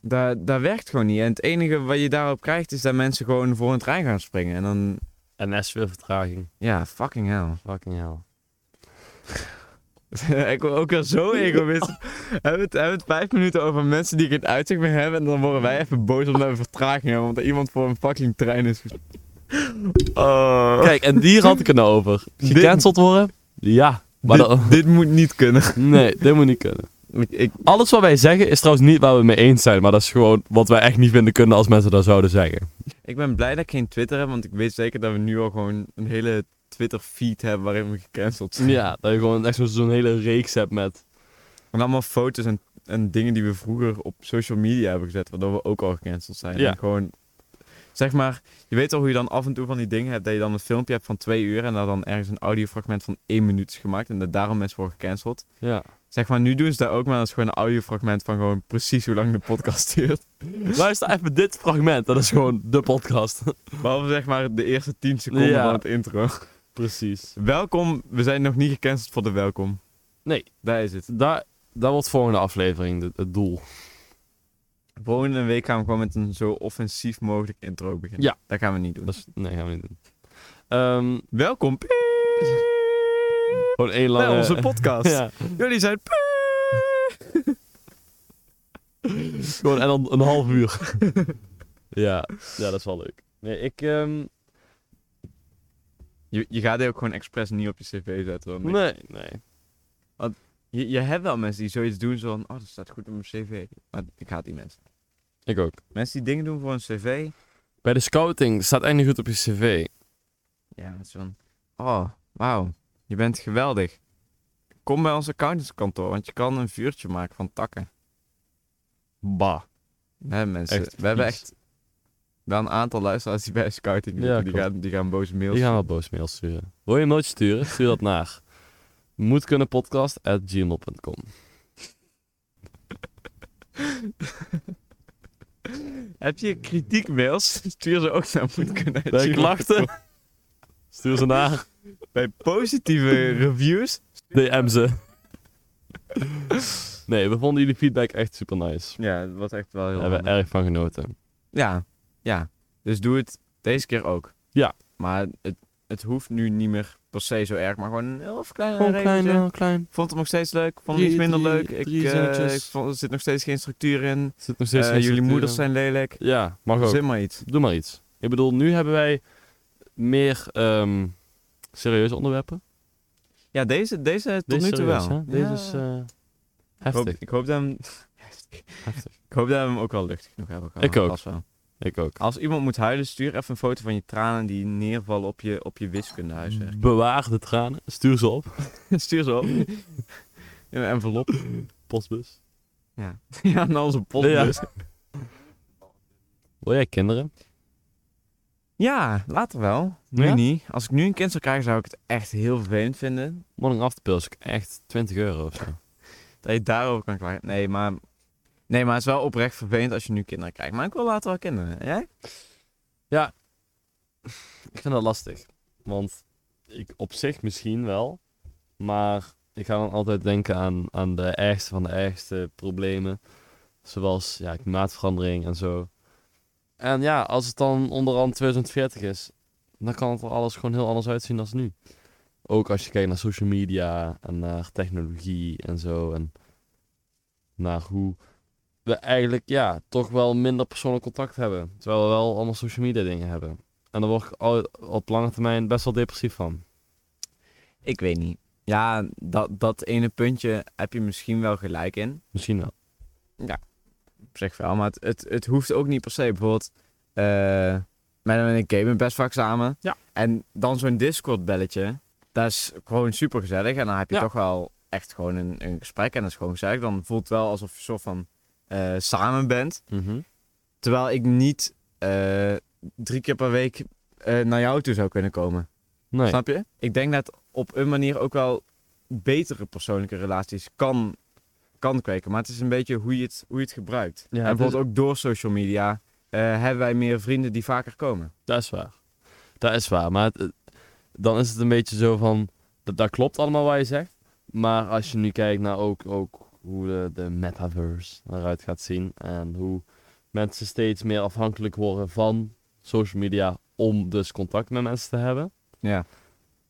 S1: dat, dat werkt gewoon niet. En het enige wat je daarop krijgt is dat mensen gewoon voor een trein gaan springen. En dan,
S2: En S weer vertraging.
S1: ja, fucking hell.
S2: Fucking hell.
S1: [laughs] ik word ook wel zo egoïst. hebben we het, hebben we het vijf minuten over mensen die geen uitzicht meer hebben. En dan worden wij even boos omdat we vertraging hebben. Omdat iemand voor een fucking trein is. Oh.
S2: Kijk, en die had ik er nou [laughs] over. Gecanceld worden? Ja. Maar
S1: dit,
S2: dat-
S1: dit moet niet kunnen.
S2: [laughs] nee, dit moet niet kunnen.
S1: Ik, ik,
S2: Alles wat wij zeggen is trouwens niet waar we het mee eens zijn. Maar dat is gewoon wat wij echt niet vinden kunnen als mensen dat zouden zeggen.
S1: Ik ben blij dat ik geen Twitter heb, want ik weet zeker dat we nu al gewoon een hele Twitter-feed hebben waarin we gecanceld zijn.
S2: Ja, dat je gewoon echt zo- zo'n hele reeks hebt met...
S1: En allemaal foto's en, en dingen die we vroeger op social media hebben gezet, waardoor we ook al gecanceld zijn.
S2: Ja.
S1: En gewoon, zeg maar, je weet al hoe je dan af en toe van die dingen hebt, dat je dan een filmpje hebt van twee uur en daar dan ergens een audiofragment van één minuut is gemaakt en dat daarom mensen worden gecanceld.
S2: [laughs] Ja.
S1: Zeg maar, nu doen ze dat ook, maar dat is gewoon een audiofragment van gewoon precies hoe lang de podcast [laughs] duurt.
S2: Luister even dit fragment. Dat is gewoon de podcast.
S1: Behalve zeg maar de eerste 10 seconden
S2: Ja.
S1: van het intro.
S2: Precies.
S1: Welkom, we zijn nog niet gecanceld voor de welkom.
S2: Nee.
S1: Daar is het.
S2: Daar, daar wordt volgende aflevering het, het doel.
S1: Volgende week gaan we gewoon met een zo offensief mogelijk intro beginnen.
S2: Ja.
S1: Dat gaan we niet doen.
S2: Dat is, nee, gaan we niet doen. Ehm,
S1: Welkom piep,
S2: gewoon één lange... [laughs]
S1: bij [laughs] onze podcast.
S2: Ja,
S1: Jullie zijn piep.
S2: gewoon en dan een half uur. [laughs] ja, ja, dat is wel leuk. Nee, ik... ehm,
S1: Je, je gaat die ook gewoon expres niet op je cv zetten. want ik-
S2: nee, nee.
S1: Je, je hebt wel mensen die zoiets doen zo van, oh dat staat goed op mijn cv. Maar ik haat die mensen.
S2: Ik ook.
S1: Mensen die dingen doen voor een cv.
S2: Bij de scouting staat echt niet goed op je cv.
S1: Ja, dat is van, oh wauw, je bent geweldig. Kom bij ons accountantskantoor, want je kan een vuurtje maken van takken.
S2: Bah.
S1: Nee, mensen,
S2: Echt
S1: we hebben
S2: vies.
S1: echt wel een aantal luisteraars die bij scouting
S2: Ja,
S1: doen. die,
S2: klopt.
S1: gaan, die gaan boze mails.
S2: Die gaan wel boos mail sturen. Wil je hem nooit sturen? Stuur dat naar moetkunnenpodcast.gmail.com
S1: Heb je kritiekmails? [laughs] Stuur ze ook naar
S2: Bij
S1: moedkunde.
S2: klachten. [laughs] Stuur ze naar.
S1: Bij
S2: [laughs]
S1: positieve reviews.
S2: DM ze. Nee, we vonden jullie feedback echt super nice.
S1: Ja, dat was echt wel
S2: Daar
S1: heel
S2: hebben we
S1: handig.
S2: erg van genoten.
S1: Ja, ja. Dus doe het deze keer ook.
S2: Ja.
S1: Maar het, het hoeft nu niet meer per se zo erg, maar gewoon een heel kleine
S2: Gewoon
S1: regeltje.
S2: klein, heel klein.
S1: vond hem nog steeds leuk, vond hem
S2: Drie-
S1: iets minder
S2: drie-
S1: leuk. Ik,
S2: drie
S1: eh,
S2: zinnetjes.
S1: ik vond, er zit nog steeds geen structuur in.
S2: Zit nog steeds
S1: Eh,
S2: geen
S1: jullie
S2: structuur
S1: moeders
S2: in.
S1: zijn lelijk.
S2: Ja, mag ook.
S1: Zin maar iets.
S2: Doe maar iets. Ik bedoel, nu hebben wij meer ehm, serieuze onderwerpen.
S1: Ja, deze, deze tot
S2: Deze
S1: nu toe
S2: serieus,
S1: wel.
S2: hè? Deze
S1: Ja.
S2: is eh,
S1: ik, hoop,
S2: heftig.
S1: ik hoop dat hem, [laughs]
S2: heftig.
S1: ik hoop dat we hem ook wel luchtig genoeg hebben gehad.
S2: Ik ook.
S1: Vast wel.
S2: Ik ook.
S1: Als iemand moet huilen, stuur even een foto van je tranen die neervallen op je, op je wiskundehuiswerk.
S2: Bewaar de tranen. Stuur ze op.
S1: [laughs] stuur ze op. In een envelop. [laughs]
S2: Postbus.
S1: Ja, ja naar onze podcast. Ja.
S2: Wil jij kinderen?
S1: later wel. Nu
S2: Ja?
S1: niet. Als ik nu een kind zou krijgen, zou ik het echt heel vervelend vinden.
S2: Morning after pill is ook echt 20 euro of zo.
S1: Dat je daarover kan klagen. Nee, maar... Nee, maar het is wel oprecht vervelend als je nu kinderen krijgt. Maar ik wil later wel kinderen. En Jij?
S2: Ik vind dat lastig. Want ik op zich misschien wel. Maar ik ga dan altijd denken aan, aan de ergste van de ergste problemen. Zoals ja, klimaatverandering en zo. En ja, als het dan onderhand 2040 is, dan kan het er alles gewoon heel anders uitzien dan nu. Ook als je kijkt naar social media en naar technologie en zo. En naar hoe we eigenlijk ja, toch wel minder persoonlijk contact hebben. Terwijl we wel allemaal social media dingen hebben. En daar word ik al, op lange termijn best wel depressief van.
S1: Ik weet niet. Ja, dat, dat ene puntje heb je misschien wel gelijk in.
S2: Misschien wel.
S1: Op zich wel. Maar het, het, het hoeft ook niet per se. Bijvoorbeeld... eh met en ik gamen best vaak samen.
S2: Ja.
S1: En dan zo'n Discord belletje. Dat is gewoon super gezellig. En dan heb je
S2: Ja.
S1: toch wel echt gewoon een, een gesprek. En dat is gewoon gezellig. Dan voelt het wel alsof je soort van eh, samen bent.
S2: Mhm.
S1: Terwijl ik niet eh, drie keer per week eh, naar jou toe zou kunnen komen.
S2: Nee.
S1: Snap je? Ik denk dat op een manier ook wel betere persoonlijke relaties kan, kan kweken. Maar het is een beetje hoe je het, hoe je het gebruikt.
S2: Ja,
S1: en
S2: het is-
S1: bijvoorbeeld ook door social media eh, hebben wij meer vrienden die vaker komen.
S2: Dat is waar. Dat is waar. Maar het- het- dan is het een beetje zo van... Dat, dat klopt allemaal wat je zegt. Maar als je nu kijkt naar ook, ook hoe de, de metaverse eruit gaat zien. En hoe mensen steeds meer afhankelijk worden van social media. Om dus contact met mensen te hebben.
S1: Ja.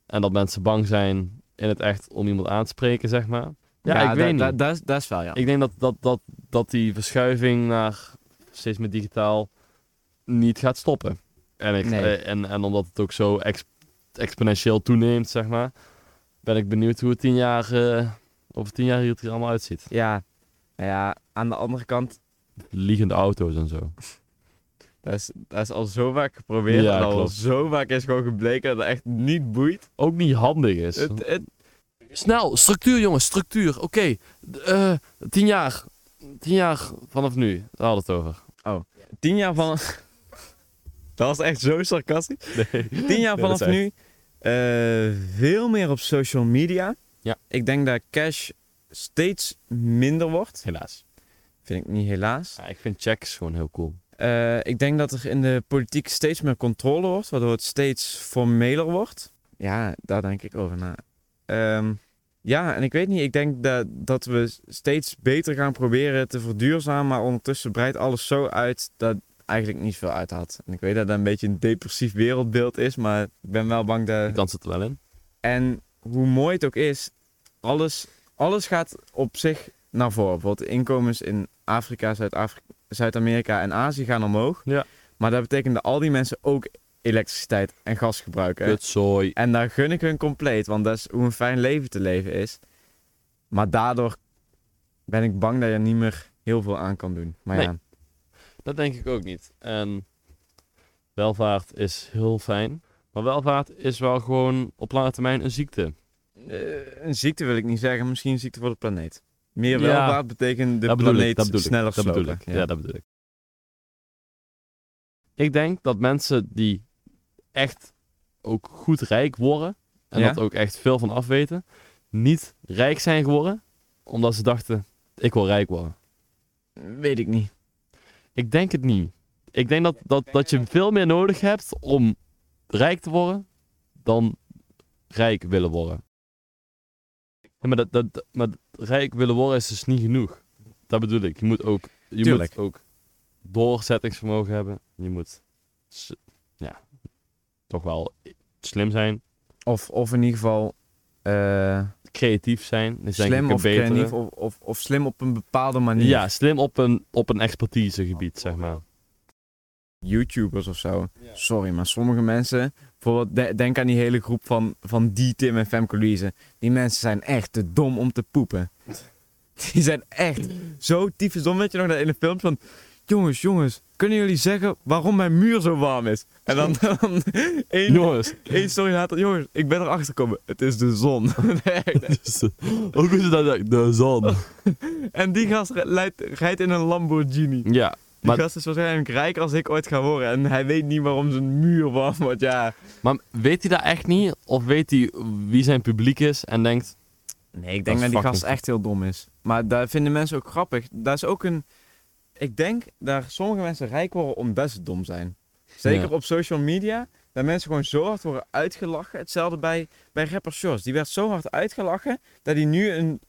S2: En dat mensen bang zijn in het echt om iemand aan te spreken, zeg maar. Ja, ik
S1: da-
S2: weet niet.
S1: da- da- is- dat is wel, ja.
S2: Ik denk dat, dat, dat, dat die verschuiving naar steeds meer digitaal niet gaat stoppen. En, ik,
S1: Nee.
S2: eh, en, en omdat het ook zo ex- exponentieel toeneemt, zeg maar, ben ik benieuwd hoe het tien jaar, eh, over tien jaar hier het hier allemaal uitziet.
S1: Ja. Nou ja, aan de andere kant,
S2: Liegende auto's en zo.
S1: dat is, dat is al zo vaak geprobeerd.
S2: Ja,
S1: en al
S2: klopt.
S1: zo vaak is gewoon gebleken dat het echt niet boeit.
S2: Ook niet handig is.
S1: Het, het,
S2: Snel, structuur jongens, structuur. Oké, D- eh, tien jaar. Tien jaar vanaf nu, daar hadden we het over.
S1: tien jaar van... [laughs] dat was echt zo sarcastisch. Tien jaar
S2: Nee, dat
S1: vanaf
S2: is echt-
S1: nu eh, veel meer op social media.
S2: Ja.
S1: Ik denk dat cash steeds minder wordt.
S2: [laughs] Helaas.
S1: Vind ik niet helaas.
S2: Ja, ik vind checks gewoon heel cool.
S1: Eh, ik denk dat er in de politiek steeds meer controle wordt, waardoor het steeds formeler wordt. Ja, daar denk ik over na. Ehm, ja, en ik weet niet, ik denk dat, dat we steeds beter gaan proberen te verduurzamen, maar ondertussen breidt alles zo uit dat eigenlijk niet veel uit had. En ik weet dat dat een beetje een depressief wereldbeeld is, maar ik ben wel bang dat...
S2: Die kans zit er wel in.
S1: En hoe mooi het ook is, alles, alles gaat op zich naar voren. Bijvoorbeeld de inkomens in Afrika, Zuid-Afri- Zuid-Amerika en Azië gaan omhoog.
S2: Ja.
S1: Maar dat betekent dat al die mensen ook elektriciteit en gas gebruiken.
S2: Kutzooi.
S1: En daar gun ik hun compleet, want dat is hoe een fijn leven te leven is. Maar daardoor ben ik bang dat je er niet meer heel veel aan kan doen. Maar
S2: Nee.
S1: ja,
S2: Dat denk ik ook niet. En welvaart is heel fijn. Maar welvaart is wel gewoon op lange termijn een ziekte.
S1: eh, een ziekte wil ik niet zeggen, misschien een ziekte voor de planeet.
S2: Ja.
S1: Meer welvaart betekent de
S2: dat bedoel ik,
S1: planeet
S2: dat bedoel ik,
S1: sneller
S2: dat bedoel
S1: slopen.
S2: ik. Ja. dat bedoel ik. Ik denk dat mensen die echt ook goed rijk worden... en
S1: Ja?
S2: dat ook echt veel van afweten... niet rijk zijn geworden omdat ze dachten... ik wil rijk worden.
S1: Weet ik niet.
S2: Ik denk het niet. Ik denk dat, dat, dat je veel meer nodig hebt om rijk te worden dan rijk willen worden. Ja, maar, dat, dat, maar rijk willen worden is dus niet genoeg. Dat bedoel ik. Je moet ook, je moet
S1: Tuurlijk.
S2: ook doorzettingsvermogen hebben. Je moet s- ja, toch wel slim zijn,
S1: Of, of in ieder geval eh,
S2: creatief zijn. Is denk ik
S1: slim
S2: een
S1: of
S2: betere.
S1: creatief of, of, of slim op een bepaalde manier.
S2: Ja, slim op een, op een expertisegebied, zeg
S1: [laughs]
S2: maar.
S1: YouTubers of zo. Sorry, maar sommige mensen... Bijvoorbeeld, de- denk aan die hele groep van, van die Tim en Femke Louise. Die mensen zijn echt te dom om te poepen. [laughs] Die zijn echt zo tyfus dom. Weet je nog dat in een filmpje van... Jongens, jongens, kunnen jullie zeggen waarom mijn muur zo warm is? En dan... [laughs] dan één,
S2: Jongens, [laughs]
S1: één story later... Jongens, ik ben erachter gekomen. Het is de zon. [laughs]
S2: dus, eh, ook is het dat de zon.
S1: en die gast rijdt, rijdt in een Lamborghini.
S2: Ja,
S1: Die
S2: Maar-
S1: gast is waarschijnlijk rijker als ik ooit ga worden. En hij weet niet waarom zijn muur warm wordt. Ja.
S2: maar weet hij dat echt niet? Of weet hij wie zijn publiek is en denkt...
S1: Nee, ik
S2: Dat
S1: denk
S2: is
S1: dat, die
S2: fucking
S1: gast
S2: goed.
S1: echt heel dom is. Maar daar vinden mensen ook grappig. Daar is ook een... Ik denk dat sommige mensen rijk worden omdat ze dom zijn. Zeker
S2: Ja.
S1: op social media. Dat mensen gewoon zo hard worden uitgelachen. Hetzelfde bij, bij rapper Shores. Die werd zo hard uitgelachen dat hij nu een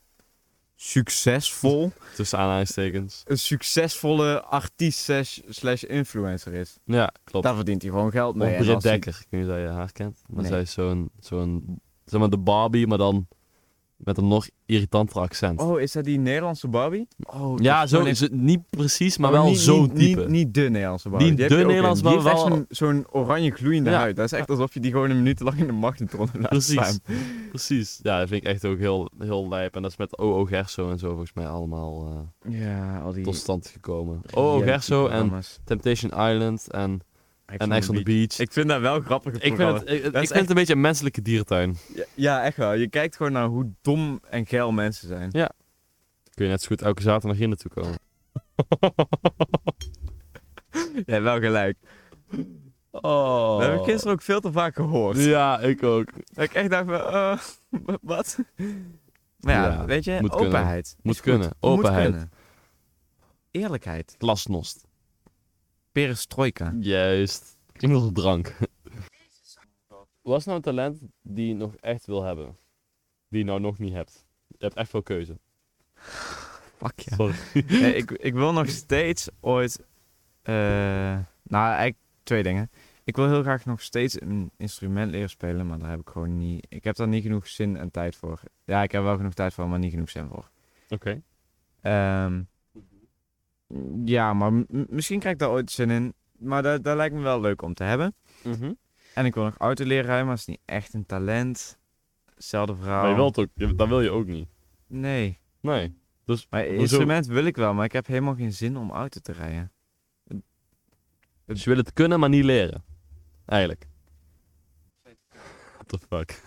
S1: succesvol...
S2: Tussen aanhalingstekens.
S1: een succesvolle artiest slash- slash influencer is.
S2: Ja, klopt.
S1: Daar verdient hij gewoon geld mee.
S2: of
S1: En
S2: Britt
S1: als hij-
S2: Dekker, ik weet niet of je haar kent. Maar
S1: Nee.
S2: zij is zo'n, zo'n, zeg maar de Barbie, maar dan met een nog irritanter accent.
S1: Oh, is dat die Nederlandse Barbie? Oh,
S2: ja,
S1: dat-
S2: zo,
S1: nee,
S2: is het niet precies, maar
S1: oh,
S2: wel
S1: niet-
S2: zo'n
S1: niet-
S2: type.
S1: Niet, niet de Nederlandse Barbie.
S2: Niet
S1: Die
S2: de
S1: heb je ook in.
S2: Nederlandse,
S1: Die
S2: maar
S1: heeft echt
S2: wel-
S1: zo'n- zo'n oranje gloeiende
S2: Ja.
S1: huid. Dat is echt alsof je die gewoon een minuut lang in de magnetron hebt laten
S2: Precies.
S1: staan.
S2: Precies. Ja, dat vind ik echt ook heel, heel lijp. En dat is met O.O. Gerso en zo volgens mij allemaal eh,
S1: Ja, al die...
S2: tot stand gekomen. O.O. Oh, Gerso en Temptation Island en, en Ex on the Beach.
S1: Ik vind dat wel grappige
S2: Ik vind,
S1: programma's.
S2: het, ik, ik vind
S1: is
S2: het
S1: echt-
S2: een beetje een menselijke dierentuin.
S1: Ja, ja, echt wel. Je kijkt gewoon naar hoe dom en geil mensen zijn.
S2: Kun je net zo goed elke zaterdag hier naartoe komen.
S1: Ja, wel gelijk.
S2: Oh.
S1: Dat heb ik gisteren ook veel te vaak gehoord.
S2: Ja, ik ook.
S1: Dat ik echt dacht van, eh, [laughs] wat? Maar ja,
S2: Ja,
S1: weet je,
S2: moet kunnen.
S1: openheid.
S2: Moet
S1: is goed.
S2: kunnen. Openheid.
S1: Moet kunnen. Eerlijkheid.
S2: Glasnost.
S1: Perestroika.
S2: Juist. Klinkt als drank. Wat is nou een talent die je nog echt wil hebben? Die je nou nog niet hebt? Je hebt echt veel keuze.
S1: Fuck ja.
S2: Sorry.
S1: Nee, ik, ik wil nog steeds ooit... eh, nou, eigenlijk twee dingen. Ik wil heel graag nog steeds een instrument leren spelen, maar daar heb ik gewoon niet... Ik heb daar niet genoeg zin en tijd voor. Ja, ik heb wel genoeg tijd voor, maar niet genoeg zin voor.
S2: Oké.
S1: Ehm, ja, maar m- misschien krijg ik daar ooit zin in. Maar dat, dat lijkt me wel leuk om te hebben.
S2: Mhm.
S1: En ik wil nog auto leren rijden, maar dat is niet echt een talent. Hetzelfde verhaal.
S2: Maar je wilt ook, je- dat wil je ook niet.
S1: Nee.
S2: Nee.
S1: Maar
S2: Hoezo?
S1: instrument wil ik wel, maar ik heb helemaal geen zin om auto te rijden.
S2: Dus je wil het kunnen, maar niet leren. Eigenlijk. What the fuck.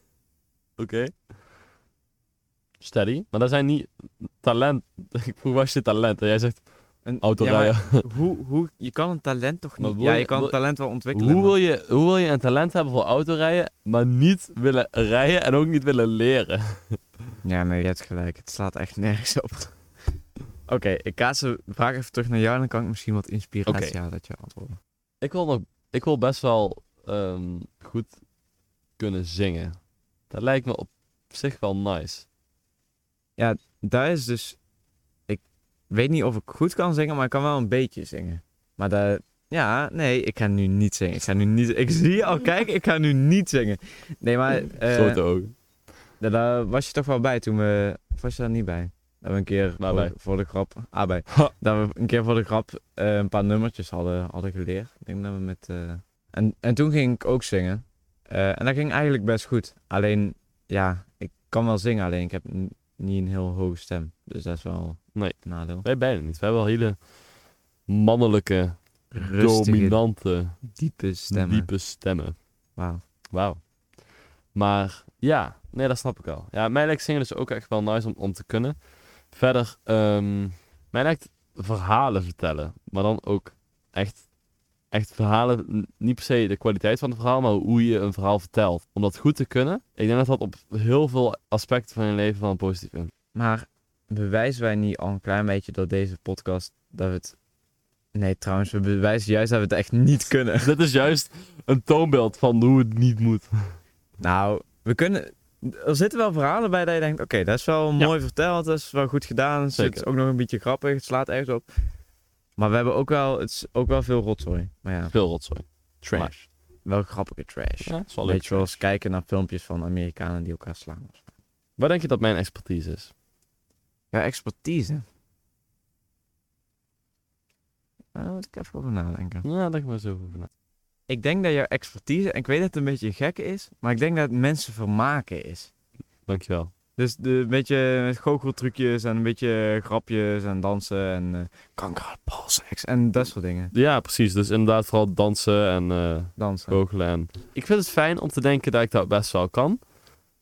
S2: [laughs] Oké. Steady. Maar dat zijn niet talent. [laughs] Ik vroeg, was je talent? En jij zegt
S1: Een,
S2: autorijden.
S1: Ja, maar [laughs] hoe, hoe, je kan een talent toch
S2: Maar
S1: niet...
S2: wil
S1: Ja,
S2: je-
S1: je kan
S2: wil-
S1: een talent wel ontwikkelen.
S2: hoe, wil
S1: maar-
S2: je, hoe wil je een talent hebben voor autorijden, maar niet willen rijden en ook niet willen leren?
S1: Ja, nee, je hebt gelijk. Het slaat echt nergens op. [laughs] Oké, ik kaats de vraag even terug naar jou en dan kan ik misschien wat inspiratie
S2: Oké.
S1: halen uit je antwoorden.
S2: Ik wil, nog, ik wil best wel ehm, goed kunnen zingen. Dat lijkt me op zich wel nice.
S1: Daar is dus... Ik weet niet of ik goed kan zingen, maar ik kan wel een beetje zingen. Maar daar... Ja, nee, ik ga nu niet zingen. Ik ga nu niet... Ik zie je al kijken, ik ga nu niet zingen. Nee, maar... eh,
S2: Grote ogen. [laughs]
S1: Ja, daar was je toch wel bij toen we... Of was je daar niet bij? Dat we een keer
S2: Waar
S1: voor,
S2: bij?
S1: voor de grap... Ah, bij.
S2: Ha.
S1: Dat we een keer voor de grap eh, een paar nummertjes hadden, hadden geleerd. Ik denk dat we met... eh, En, en toen ging ik ook zingen. Eh, en dat ging eigenlijk best goed. Alleen, ja, ik kan wel zingen, alleen ik heb n- niet een heel hoge stem. Dus dat is wel
S2: Nee.
S1: een nadeel.
S2: Wij bijna niet. Wij hebben wel hele mannelijke,
S1: Rustige,
S2: dominante,
S1: diepe stemmen.
S2: diepe stemmen.
S1: Wauw.
S2: Wauw. Maar ja, nee, dat snap ik al. Ja, mij lijkt zingen dus ook echt wel nice om, om te kunnen. Verder, ehm, mij lijkt verhalen vertellen. Maar dan ook echt, echt verhalen. n- Niet per se de kwaliteit van het verhaal, maar hoe je een verhaal vertelt. Om dat goed te kunnen. Ik denk dat dat op heel veel aspecten van je leven wel een positief invloed
S1: Maar bewijzen wij niet al een klein beetje dat deze podcast... dat we het Nee, trouwens, we bewijzen juist dat we het echt niet kunnen.
S2: Dit is juist een toonbeeld van hoe het niet moet.
S1: Nou, we kunnen... Er zitten wel verhalen bij dat je denkt, oké, dat is wel
S2: Ja.
S1: mooi verteld, dat is wel goed gedaan, het is
S2: Zeker.
S1: ook nog een beetje grappig, het slaat ergens op. Maar we hebben ook wel, het is ook wel veel rotzooi. Maar ja,
S2: Veel rotzooi. Trash.
S1: Maar- wel grappige trash.
S2: ja, dat is wel leuk.
S1: Weet je wel eens kijken naar filmpjes van Amerikanen die elkaar slaan.
S2: Waar denk je dat mijn expertise is?
S1: Ja, expertise. Daar moet ik even over nadenken.
S2: Nou, denk maar zo over na.
S1: Ik denk dat jouw expertise, en ik weet dat het een beetje gek is, maar ik denk dat het mensen vermaken is.
S2: Dankjewel.
S1: Dus de, een beetje met goocheltrucjes en een beetje grapjes en dansen en eh kanker, balseks en dat soort dingen.
S2: Ja, precies. Dus inderdaad vooral dansen en eh
S1: Dansen.
S2: goochelen. En... Ik vind het fijn om te denken dat ik dat best wel kan.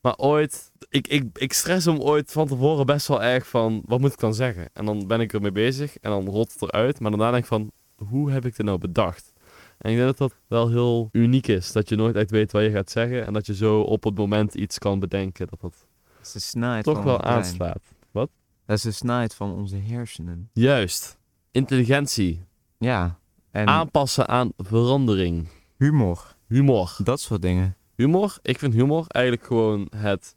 S2: Maar ooit... Ik, ik, ik stress hem ooit van tevoren best wel erg van... Wat moet ik dan zeggen? En dan ben ik ermee bezig en dan rolt het eruit. Maar daarna denk ik van... Hoe heb ik dit nou bedacht? En ik denk dat dat wel heel uniek is. Dat je nooit echt weet wat je gaat zeggen. En dat je zo op het moment iets kan bedenken. Dat dat
S1: Dat is de snelheid
S2: toch
S1: van
S2: wel
S1: ons brein.
S2: aanslaat.
S1: Dat is de snelheid van onze hersenen.
S2: Juist. Intelligentie.
S1: Ja. En
S2: Aanpassen aan verandering.
S1: humor.
S2: Humor.
S1: Dat soort dingen.
S2: Humor, ik vind humor eigenlijk gewoon het.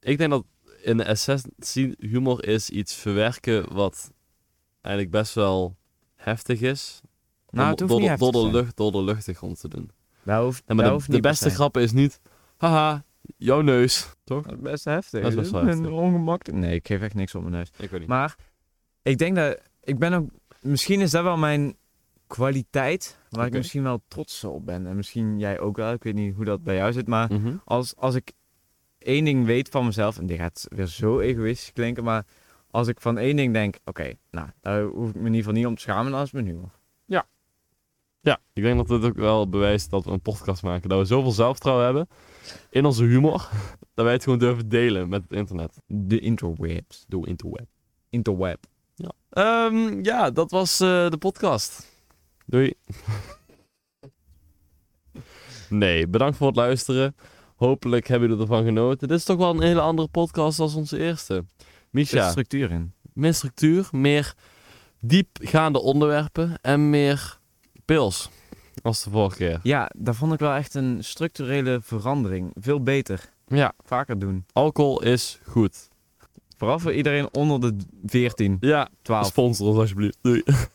S2: Ik denk dat in de essentie humor is iets verwerken wat eigenlijk best wel heftig is.
S1: Nou, het hoeft
S2: door,
S1: niet
S2: de-
S1: heftig
S2: door,
S1: te
S2: de
S1: zijn.
S2: lucht, door de luchtig om te doen.
S1: Dat hoeft,
S2: Ja,
S1: dat
S2: maar
S1: hoeft
S2: de,
S1: niet
S2: de
S1: per
S2: beste
S1: se.
S2: grap is niet, haha, jouw neus. [laughs] Toch?
S1: Dat is best heftig.
S2: Dat is best wel
S1: Ik ben
S2: heftig.
S1: ongemakkelijk. Nee, ik geef echt niks op mijn neus.
S2: Ik weet niet.
S1: Maar ik denk dat ik ben ook. Misschien is dat wel mijn kwaliteit. Waar ik
S2: Oké.
S1: misschien wel trots op ben. En misschien jij ook wel. Ik weet niet hoe dat bij jou zit. Maar
S2: Mhm.
S1: als, als ik één ding weet van mezelf. En dit gaat weer zo egoïstisch klinken. Maar als ik van één ding denk. Oké, nou. Daar hoef ik me in ieder geval niet om te schamen. Dan is het mijn humor.
S2: Ja, ik denk dat dit ook wel bewijst dat we een podcast maken. Dat we zoveel zelfvertrouwen hebben in onze humor. [laughs] Dat wij het gewoon durven delen met het internet.
S1: De interwebs.
S2: Doe interweb.
S1: Interweb.
S2: Ehm, ja, dat was eh, de podcast. Doei. nee, bedankt voor het luisteren. Hopelijk hebben jullie ervan genoten. Dit is toch wel een hele andere podcast als onze eerste.
S1: Er zit
S2: Misha,
S1: structuur in.
S2: meer structuur, meer diepgaande onderwerpen en meer pils als de vorige keer.
S1: Ja, daar vond ik wel echt een structurele verandering. Veel beter.
S2: Ja,
S1: Vaker doen.
S2: alcohol is goed.
S1: Vooral voor iedereen onder de 14,
S2: Ja,
S1: 12.
S2: sponsor ons alsjeblieft. Doei.